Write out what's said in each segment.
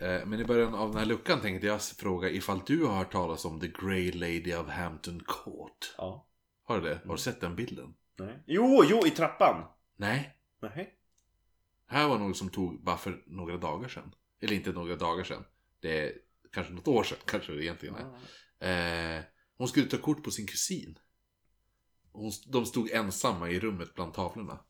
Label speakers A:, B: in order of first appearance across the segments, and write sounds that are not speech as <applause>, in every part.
A: Eh, Men i början av den här luckan tänkte jag fråga ifall du har hört talas om The Grey Lady of Hampton Court.
B: Ja.
A: Har du det? Har du sett den bilden?
B: Nej. Jo, jo, i trappan.
A: Nej.
B: Nej.
A: Här var något som tog bara för några dagar sedan. Eller inte några dagar sedan. Det är kanske något år sedan <laughs> kanske det egentligen är. Eh, hon skulle ta kort på sin kusin. Hon, de stod ensamma i rummet bland tavlorna.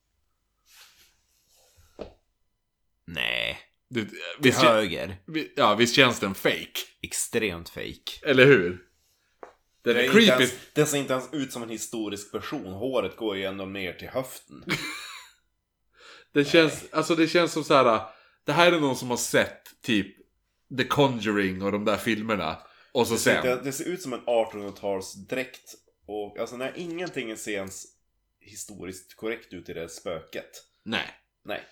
C: Nej.
A: Det,
C: Till
A: visst,
C: höger.
A: vi- ja, visst känns den fake?
C: Extremt fake.
A: Eller hur?
B: Det
A: Den är
B: är inte
A: creepy.
B: ens, den ser inte ens ut som en historisk person. Håret går ju ändå ner till höften.
A: Det känns, alltså det känns som så här. Det här är någon som har sett typ The Conjuring och de där filmerna. Och så sen.
B: Det, det ser ut som en 1800-talsdräkt. Och alltså när ingenting ser ens historiskt korrekt ut i det spöket.
A: Nej.
B: Nej.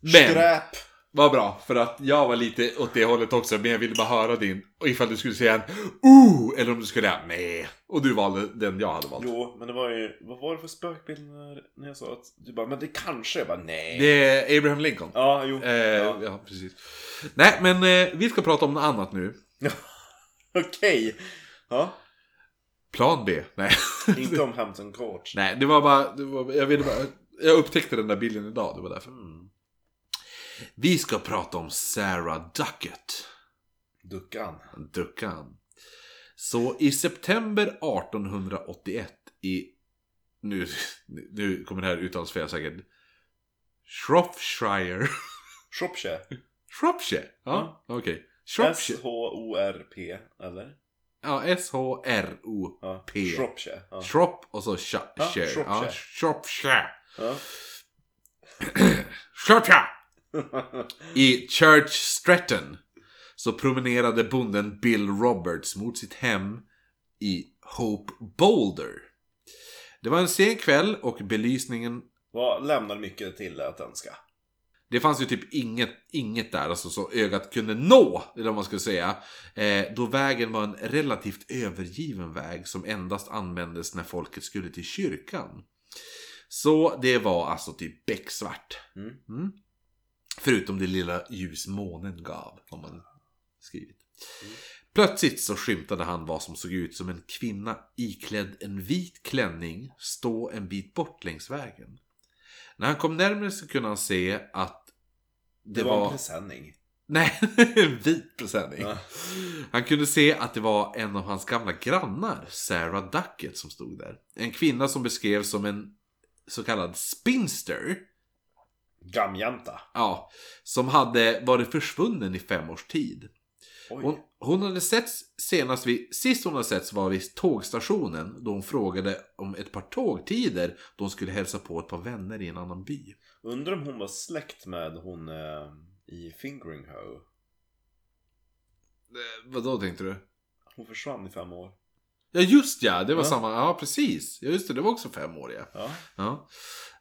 A: Men,
B: Skräp!
A: vad bra. För att jag var lite åt det hållet också. Men jag ville bara höra din. Och ifall du skulle säga en oh! Eller om du skulle säga nej. Och du valde den jag hade valt.
B: Jo, men det var ju... Vad var det för spökbild när, när jag sa att... Du bara, men det kanske... Jag bara, nej.
A: Det är Abraham Lincoln.
B: Ja, jo.
A: Eh, ja.
B: ja.
A: precis. Nej, men eh, vi ska prata om något annat nu.
B: Okej.
A: <laughs>
B: Ja.
A: Plan B. Nej.
B: Inte om Hampton Court.
A: Nej, det var bara... Det var, jag, ville bara jag upptäckte den där bilden idag, det var därför.
B: Mm.
A: Vi ska prata om Sarah Duckett,
B: Duckan.
A: Duckan. Så i september 1881 i... Nu, nu kommer det här uttalsfel säkert. Shropshire.
B: Shropshire.
A: Shropshire? Ja,
B: Mm.
A: okej. Shropshire.
B: S-H-O-R-P, eller?
A: Ja, S-H-R-O.
B: Ja.
A: P.
B: Shropshire. Ja.
A: Shrop och så sha,
B: Ja,
A: share. Ja,
B: Shropshire.
A: Shropshire.
B: Ja. <laughs>
A: Shropshire! I Church Stretton så promenerade bonden Bill Roberts mot sitt hem i Hope Boulder. Det var en sen kväll och belysningen
B: Vad lämnar mycket till att önska.
A: det fanns ju typ inget, inget där alltså, så ögat kunde nå, eller vad man skulle säga. Eh, då vägen var en relativt övergiven väg som endast användes när folket skulle till kyrkan. Så det var alltså typ becksvart.
B: Mm.
A: Förutom det lilla ljus månen gav, har man skrivit.
B: Mm.
A: Plötsligt så skymtade han vad som såg ut som en kvinna iklädd en vit klänning stå en bit bort längs vägen. När han kom närmare så kunde han se att det,
B: Det var,
A: var...
B: en presenning.
A: Nej, <laughs> en vit presenning.
B: Ja.
A: Han kunde se att det var en av hans gamla grannar, Sarah Duckett, som stod där. En kvinna som beskrevs som en så kallad spinster.
B: Gamjanta.
A: Ja, som hade varit försvunnen i fem års tid.
B: Oj.
A: Hon, hon hade setts senast vid, sist hon hade setts var vid tågstationen då hon frågade om ett par tågtider då hon skulle hälsa på ett par vänner i en annan by.
B: Undrar om hon var släkt med hon eh, i Fingering Hoe.
A: Eh, vadå tänkte du?
B: Hon försvann i fem år.
A: Ja just ja, det var
B: Ja.
A: samma, ja precis. Ja just det, det var också fem år ja.
B: Ja.
A: ja.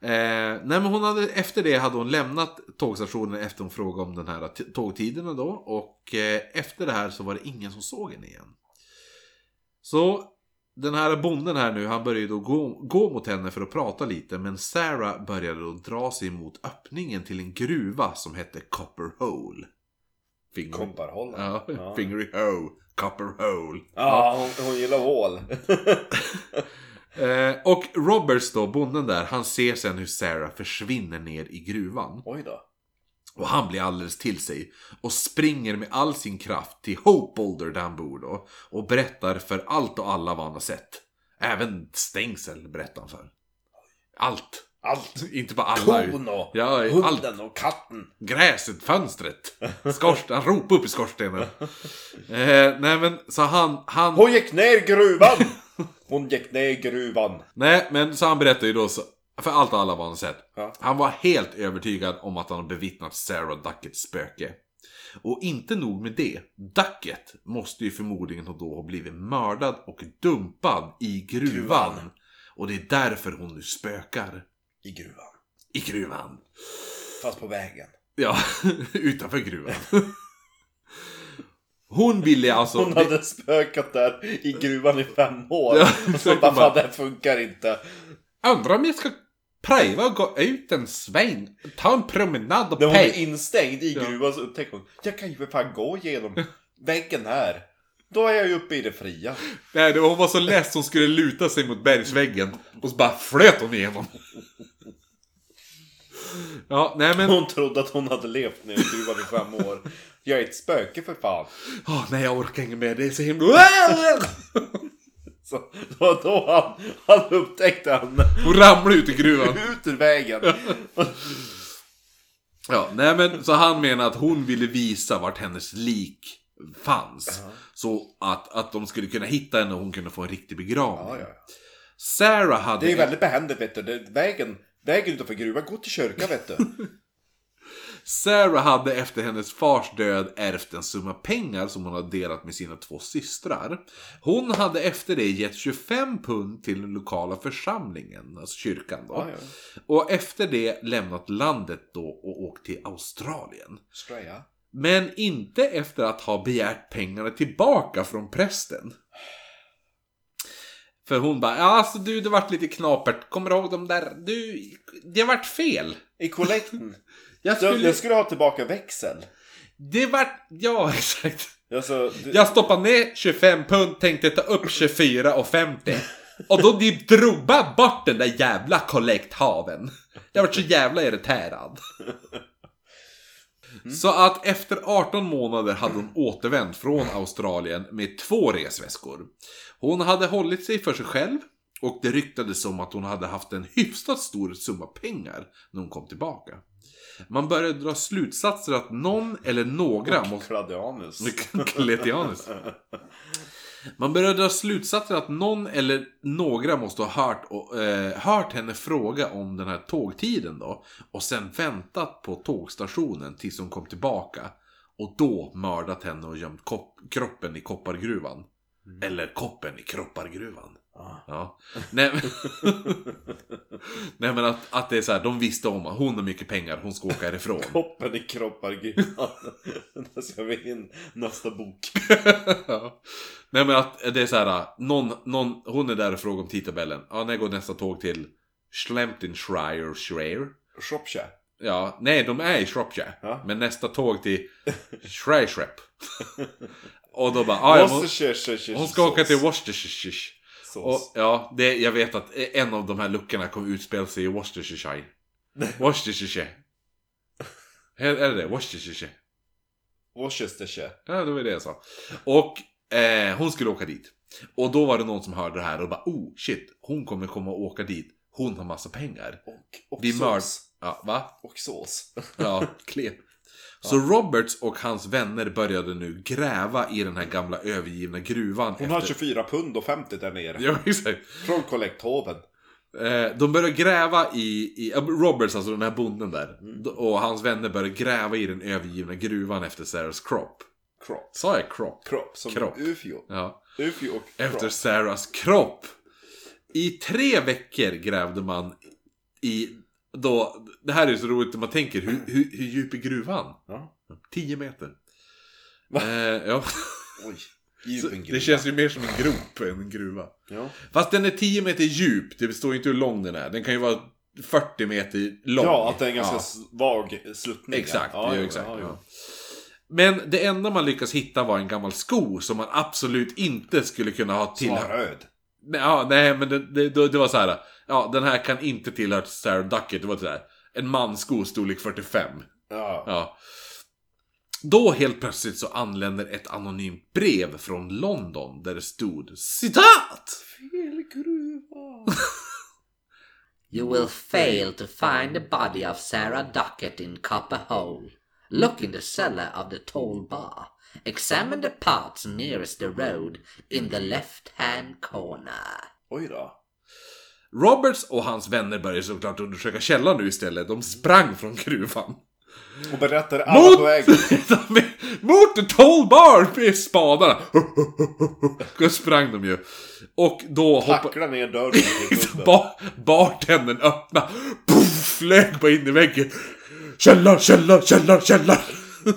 A: Eh, nej men hon hade, efter det hade hon lämnat tågstationen efter hon frågade om den här t- tågtiderna då. Och eh, efter det här så var det ingen som såg henne igen. Så den här bonden här nu, han började då gå, gå mot henne för att prata lite. Men Sarah började då dra sig mot öppningen till en gruva som hette Copper Hole. Finger,
B: Kopparhållaren.
A: ja,
B: Ja.
A: Fingery Hole. Copper Hole.
B: Ja, hon, hon gillar hål.
A: Eh, och Roberts då, bonden där, han ser sen hur Sarah försvinner ner i gruvan.
B: <laughs> Oj då.
A: Och han blir alldeles till sig. Och springer med all sin kraft till Hope Boulder där han bor då. Och berättar för allt och alla vad han har sett. Även stängsel berättar han för. Allt. Alltså,
B: Allt.
A: Inte bara alla.
B: Kon och
A: Ja, allt.
B: hunden och katten.
A: Gräset, fönstret. Skorsten, han ropar upp i skorstenen. Eh, nej men, så han... han...
B: Hon gick ner i gruvan! Hon gick ner i gruvan.
A: Nej, men så han berättar ju då så, för allt och alla vad han sett.
B: Ja.
A: Han var helt övertygad om att han har bevittnat Sarah Duckets spöke. Och inte nog med det, Ducket måste ju förmodligen då ha blivit mördad och dumpad i gruvan.
B: Gruvan.
A: Och det är därför hon nu spökar.
B: I gruvan.
A: I gruvan.
B: Fast på vägen.
A: Ja, <laughs> utanför gruvan. Hon ville alltså...
B: Hon hade spökat där i gruvan i fem år.
A: Ja,
B: och så
A: exakt,
B: bara,
A: hon bara-
B: fan det här funkar inte.
A: Undrar om jag ska Pröva att gå ut en sväng. Ta en promenad och
B: När hon är
A: pej.
B: instängd i
A: Ja.
B: gruvan så upptäcker hon Jag kan ju för fan gå genom väggen här. Då är jag ju uppe i det fria.
A: Nej, det var- Hon var så less hon skulle luta sig mot bergsväggen. Och så bara flöt hon igenom. Ja, nej men.
B: Hon trodde att hon hade levt nu i gruvan i fem år. Jag är ett spöke för fan. <laughs>
A: Åh, nej, jag orkar inte mer. Det är så himla...
B: Så det var då han, han upptäckte henne.
A: Hon ramlade ut i gruvan.
B: Ut ur vägen.
A: Ja, nej men så han menar att hon ville visa vart hennes lik fanns. Så att, att de skulle kunna hitta henne och hon kunde få en riktig begravning.
B: Ja, ja.
A: Sarah hade...
B: Det är ju väldigt behändigt vet du. Det, vägen, vägen utanför gruvan, gå till kyrkan vet du.
A: <laughs> Sarah hade efter hennes fars död ärvt en summa pengar som hon hade delat med sina två systrar. Hon hade efter det gett 25 pund till den lokala församlingen, alltså kyrkan då.
B: Ja, ja.
A: Och efter det lämnat landet då och åkt till Australien.
B: Straya.
A: Men inte efter att ha begärt pengarna tillbaka från prästen. För hon bara, ja alltså du det vart lite knapert, kommer du ihåg de där, du, det vart fel.
B: I kollekten.
A: <laughs> Jag
B: Jag,
A: skulle,
B: jag skulle ha tillbaka växel.
A: det vart, ja <laughs> exakt.
B: Alltså, det,
A: Jag stoppade ner 25 pund, tänkte ta upp 24 och 50. Och då de drog bara bort den där jävla kollekthaven. Jag var så jävla irriterad. Så att efter 18 månader hade hon återvänt från Australien med två resväskor. Hon hade hållit sig för sig själv och det ryktades om att hon hade haft en hyfsat stor summa pengar när hon kom tillbaka. Man började dra slutsatser att någon eller några måste...
B: Kladianus.
A: Kletianus. Man börjar dra slutsatsen att någon eller några måste ha hört, och, eh, hört henne fråga om den här tågtiden då. Och sen väntat på tågstationen tills hon kom tillbaka. Och då mördat henne och gömt kop- kroppen i koppargruvan. Eller koppen i kroppargruvan.
B: Ja.
A: Ja. Nej, men... <laughs> Nej men att, att det är så här, de visste om att hon har mycket pengar, hon ska åka härifrån.
B: Koppen i kroppar <laughs> gruvan. Där ska vi in nästa bok.
A: Ja. Nej men att det är så här, äh, någon, någon, hon är där och frågar om tidtabellen. Ja, när går nästa tåg till Schlemptonshire? Shire?
B: Shropshire.
A: Ja, nej de är i Shropshire.
B: Ja.
A: Men nästa tåg till Shrishrep. <laughs> och då bara, "Ah, ja, jag må,
B: Worcestershire
A: hon ska åka
B: sås.
A: till Worcestershire. Och
B: Sås.
A: ja, det, jag vet att en av de här luckorna kommer utspela sig
B: <laughs>
A: i Worcestershire. Worcestershire. Är är det det? Worcestershire?
B: Worcestershire.
A: Ja, det var ju det jag sa. Och eh, hon skulle åka dit. Och då var det någon som hörde det här och bara oh shit, hon kommer komma och åka dit. Hon har massa pengar.
B: Och, och
A: Vi mörd-
B: sås.
A: Ja, va?
B: Och sås.
A: Ja, <laughs> klep. Så Roberts och hans vänner började nu gräva i den här gamla övergivna gruvan.
B: Hon har 24 pund och 50 där nere.
A: <laughs> Ja, exakt.
B: Från kollekthoven.
A: Eh, de börjar gräva i, i eh, Roberts, alltså den här bonden där.
B: Mm.
A: D- Och hans vänner börjar gräva i den övergivna gruvan efter Sarahs kropp.
B: Crop.
A: Sa jag kropp?
B: Crop. Som
A: Kropp.
B: ufio.
A: Ja.
B: Ufio och crop.
A: efter Sarahs kropp. I tre veckor grävde man i, då, det här är så roligt när man tänker, hur, hur, hur djup är gruvan?
B: Ja.
A: 10 meter.
B: Va?
A: Eh, ja.
B: Oj. Djup
A: Så <laughs>
B: en gruva.
A: Det känns ju mer som en grop än en gruva.
B: Ja.
A: Fast den är 10 meter djup, det står ju inte hur lång den är. Den kan ju vara 40 meter lång.
B: Ja, att det är en ganska
A: Ja.
B: svag sluttning.
A: Exakt,
B: ja,
A: det är
B: jo,
A: ju exakt.
B: ja, jo.
A: ja. Men det enda man lyckas hitta var en gammal sko som man absolut inte skulle kunna ha
B: Som var
A: tillhört.
B: röd.
A: Nej, ja, nej men det, det, det, det var så här. Ja, den här kan inte tillhört Sarah Duckett. Det var sådär. En manssko storlek 45.
B: Ja.
A: Ja. Då helt plötsligt så anländer ett anonymt brev från London där det stod citat!
B: Fel
A: <laughs>
B: gruva.
D: You will fail to find the body of Sarah Duckett in Copper Hole. Look in the cellar of the tall bar. Examine the parts nearest the road in the left hand corner.
B: Oj då.
A: Roberts och hans vänner började såklart undersöka källan nu istället. De sprang från gruvan. <laughs>
B: Och berättar alla på vägen.
A: De- Mot en tall bar med spadarna! <laughs> Då sprang de ju. Och då hoppade...
B: Tacklar ner dörren
A: <laughs>
B: till gubben. Alltså,
A: Bar, bartendern öppna Puff, flög bara in i väggen. Källar, källar, källar, källar. eh,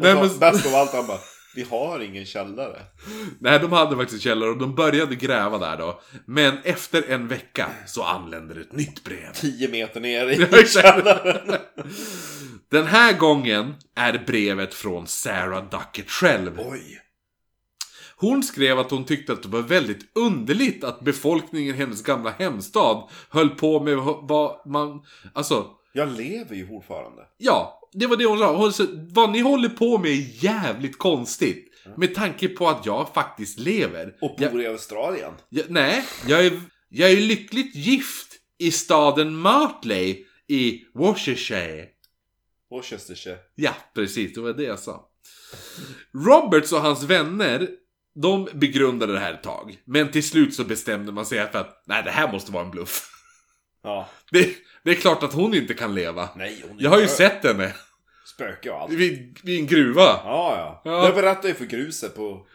A: nej,
B: Och så,
A: men,
B: Bäst av allt, han bara Vi har ingen källare.
A: Nej, de hade faktiskt källor och de började gräva där då. Men efter en vecka så anländer ett nytt brev.
B: 10 meter ner <laughs>
A: <laughs>
B: i källaren.
A: Den här gången är brevet från Sarah Duckett själv.
B: Oj.
A: Hon skrev att hon tyckte att det var väldigt underligt att befolkningen i hennes gamla hemstad höll på med vad man... Alltså,
B: Jag lever ju fortfarande.
A: Ja, det var det hon sa. Hon sa vad ni håller på med är jävligt konstigt. Med tanke på att jag faktiskt lever.
B: Och
A: jag,
B: bor i Australien.
A: jag, nej, jag är, jag är lyckligt gift i staden Martley i Worcestershire.
B: Och Chestershire.
A: Ja, precis. Det var det jag sa. Roberts och hans vänner, de begrundade det här ett tag. Men till slut så bestämde man sig för att nej, det här måste vara en bluff. <laughs>
B: Ja.
A: Det, det är klart att hon inte kan leva.
B: Nej, hon är
A: Jag har ju
B: död.
A: sett henne
B: Spöke och allt.
A: vid, vid en gruva.
B: Ja, ja.
A: Ja.
B: Jag berättade ju för gruset på... på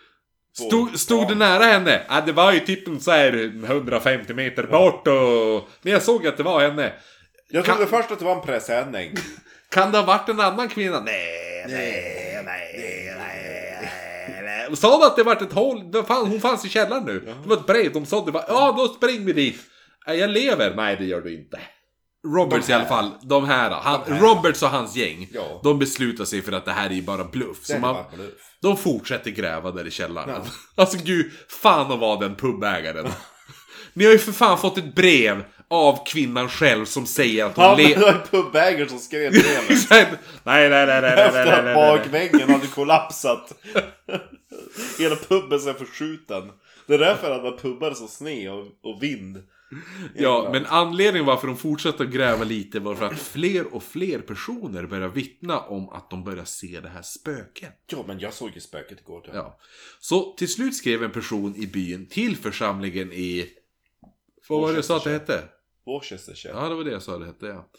A: Stod, stod
B: Ja.
A: du nära henne? Ja, det var ju typ en så här 150 meter bort och... Men jag såg att det var henne.
B: Jag trodde
A: Kan-
B: först att det var en presenning.
A: Kan det ha varit en annan kvinna? Nej, nej, nej, nej, nej. Och Sa du att det var ett hål? Det fan, hon fanns i källaren nu. Det var ett brev. De sa det var... Ja, då spring vi dit. Nej, Jag lever. Nej, det gör du inte. Roberts i alla fall, de här, då. han, Roberts och hans gäng,
B: Ja.
A: de beslutar sig för att det här är ju bara bluff.
B: Det
A: Så
B: är
A: man,
B: bara bluff.
A: de fortsätter gräva där i källaren.
B: Ja.
A: <laughs> Alltså gud, fan att vara den pubägaren. <laughs> Ni har ju för fan fått ett brev av kvinnan själv som säger att hon
B: Ja, men det
A: <laughs> lever...
B: var ju pubägaren som skrev brevet.
A: <laughs> nej, nej, nej, nej, nej, nej, nej,
B: Efter att
A: nej, nej.
B: bakväggen hade kollapsat. Hela puben så är förskjuten. Det är därför alla pubbar är så sne och, och vind.
A: Ja, men anledningen varför de fortsätter att gräva lite var för att fler och fler personer börjar vittna om att de börjar se det här spöket.
B: Ja, men jag såg ju spöket igår. typ. Ja.
A: Ja. Så till slut skrev en person i byn till församlingen i... Vad var det jag sa att det hette?
B: Worcestershire.
A: Ja, det var det jag sa det hette, ja.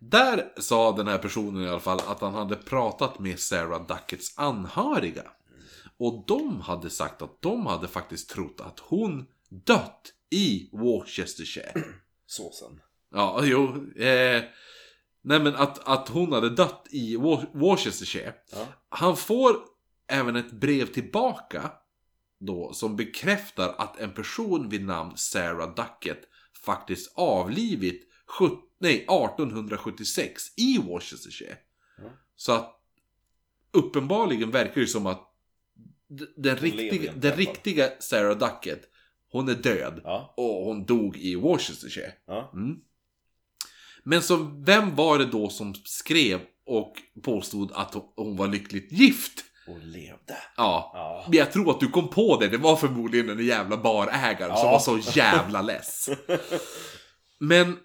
A: Där sa den här personen i alla fall att han hade pratat med Sarah Duckets anhöriga. Och de hade sagt att de hade faktiskt trott att hon dött i Worcestershire.
B: Såsen.
A: Ja, jo. Eh, nej, men att, att hon hade dött i Wor- Worcestershire.
B: Ja.
A: Han får även ett brev tillbaka då som bekräftar att en person vid namn Sarah Duckett faktiskt avlivit 17, nej, 1876 i Worcestershire.
B: Ja.
A: Så att uppenbarligen verkar det som att d- den
B: Hon lever inte
A: riktiga,
B: i
A: den
B: alla fall.
A: riktiga Sarah Duckett, hon är död
B: Ja.
A: och hon dog i Worcestershire.
B: ja.
A: Mm. Men så vem var det då som skrev och påstod att hon- hon var lyckligt gift?
B: Och levde.
A: Ja.
B: Ja.
A: Men jag tror att du kom på det, det var förmodligen den jävla barägaren som
B: Ja.
A: var så
B: <laughs>
A: jävla less. Men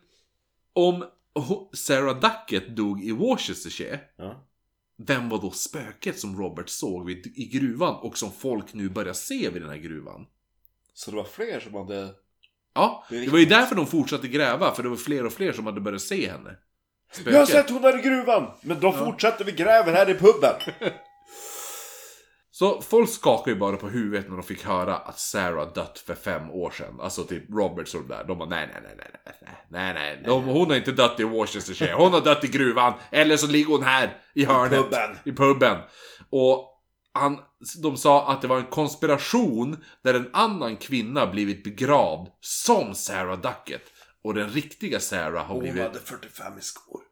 A: om ho- Sarah Duckett dog i Worcestershire,
B: ja.
A: vem var då spöket som Robert såg vid, i gruvan och som folk nu börjar se vid den här gruvan?
B: Så det var fler som hade...
A: Ja,
B: Det är
A: det var ju
B: riktigt.
A: därför de fortsatte gräva, för det var fler och fler som hade börjat se henne.
B: Jag har sett hon där i gruvan! Men då fortsätter vi gräver här i
A: <laughs>
B: puben.
A: Så folk skakade ju bara på huvudet när de fick höra att Sarah dött för fem år sedan. Alltså typ Roberts och de där. De bara nej, nej, nej, nej, nej, nej, nej, nej. De, hon har inte dött i Worcestershire. Hon har dött i gruvan. Eller så ligger hon här i hörnet.
B: puben.
A: I puben. Och han, de sa att det var en konspiration där en annan kvinna blivit begravd som Sarah Duckett. Och den riktiga Sarah har
B: Hon
A: blivit...
B: hade 45 i skor. <laughs>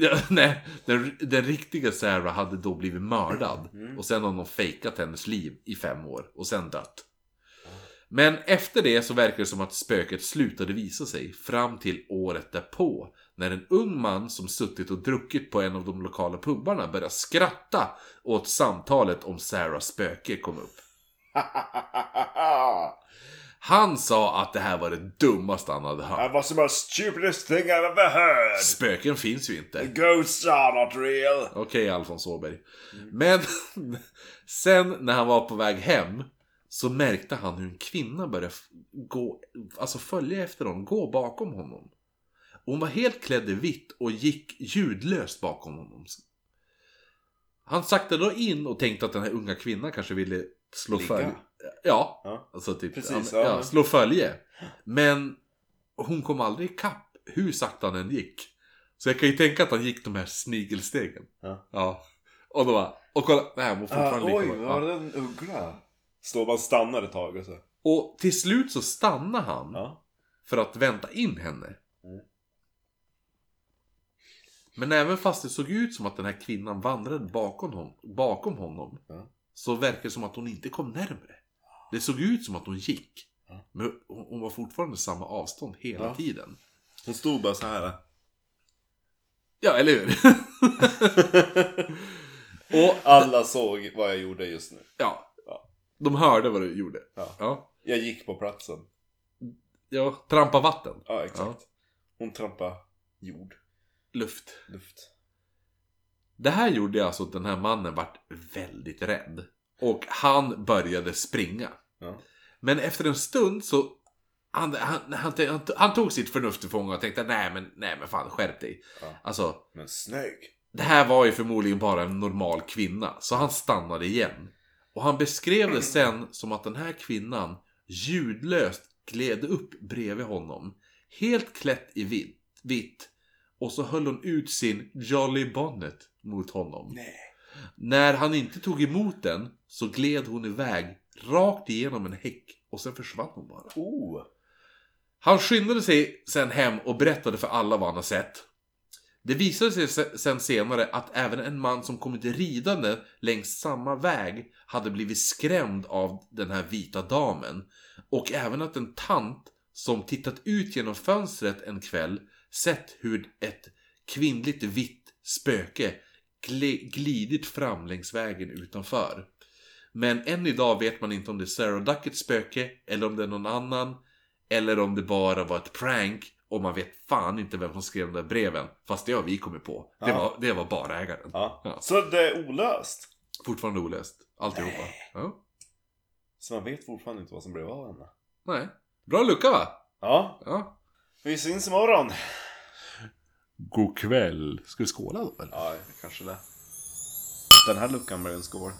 A: Ja, <laughs> nej, den, den riktiga Sarah hade då blivit mördad. Och sen har de fejkat hennes liv i fem år och sen dött. Men efter det så verkar det som att spöket slutade visa sig fram till året därpå. När en ung man som suttit och druckit på en av de lokala pubarna började skratta åt samtalet om Sarahs spöke kom upp. Han sa att det här var det dummaste han hade hört.
B: That was the most stupidest thing I've ever heard!
A: Spöken finns ju inte.
B: Ghosts are not real!
A: Okej, Alfons Åberg. Men <laughs> sen när han var på väg hem så märkte han hur en kvinna började f- gå, alltså följa efter honom, gå bakom honom. Hon var helt klädd i vitt och gick ljudlöst bakom honom. Han saktade då in och tänkte att den här unga kvinnan kanske ville slå
B: Ligga.
A: följe. Ja,
B: Ja.
A: alltså typ
B: Precis,
A: ja, men-
B: ja.
A: ja, slå följe. Men hon kom aldrig ikapp hur sakta han än gick. Så jag kan ju tänka att han gick de här snigelstegen.
B: Ja.
A: ja. Och, då bara, Och kolla, det här var
B: Ah,
A: fortfarande
B: oj,
A: lika bra.
B: var det en uggla? Står man stannar ett tag och så.
A: Och till slut så stannar han
B: Ja.
A: för att vänta in henne.
B: Mm.
A: Men även fast det såg ut som att den här kvinnan vandrade bakom honom, bakom honom
B: Ja.
A: så verkar det som att hon inte kom närmre. Det såg ut som att hon gick.
B: Ja.
A: Men hon hon var fortfarande samma avstånd hela
B: Ja.
A: tiden.
B: Hon stod bara så <laughs> här.
A: Ja, eller hur? <laughs> och
B: Alla såg vad jag gjorde just nu.
A: ja,
B: Ja.
A: de hörde vad du gjorde.
B: Ja.
A: Ja,
B: Jag gick på platsen.
A: ja. trampa vatten,
B: Ja, exakt. Hon trampade jord,
A: luft.
B: luft.
A: Det här gjorde alltså att den här mannen vart väldigt rädd. Och han började springa.
B: Ja.
A: Men efter en stund så... Han, han, han, han, han tog sitt förnuft till fånga och tänkte nej men, nej men fan skärp dig.
B: Ja.
A: Alltså,
B: Men snygg.
A: det här var ju förmodligen bara en normal kvinna. Så han stannade igen. Och han beskrev det sen som att den här kvinnan ljudlöst gled upp bredvid honom. Helt klätt i vitt. vitt och så höll hon ut sin Jolly Bonnet mot honom.
B: Nej.
A: När han inte tog emot den så gled hon iväg rakt igenom en häck och sen försvann hon bara.
B: Oh.
A: Han skyndade sig sen hem och berättade för alla vad han har sett. Det visade sig se- sen senare att även en man som kommit ridande längs samma väg hade blivit skrämd av den här vita damen. Och även att en tant som tittat ut genom fönstret en kväll sett hur ett kvinnligt vitt spöke gl- glidit fram längs vägen utanför. Men än idag vet man inte om det är Sarah Duckets spöke eller om det är någon annan eller om det bara var ett prank och man vet fan inte vem som skrev de där breven. Fast det har vi kommit på. Det
B: Ja.
A: var, det var barägaren.
B: Ja.
A: Ja.
B: Så det är olöst.
A: Fortfarande olöst. Alltihopa. Ja.
B: Så man vet fortfarande inte vad som blev av henne.
A: Nej. Bra lucka va?
B: Ja,
A: Ja.
B: vi syns imorgon.
A: God kväll. Ska vi skåla då eller?
B: Ja, kanske det. Den här luckan blev en skål.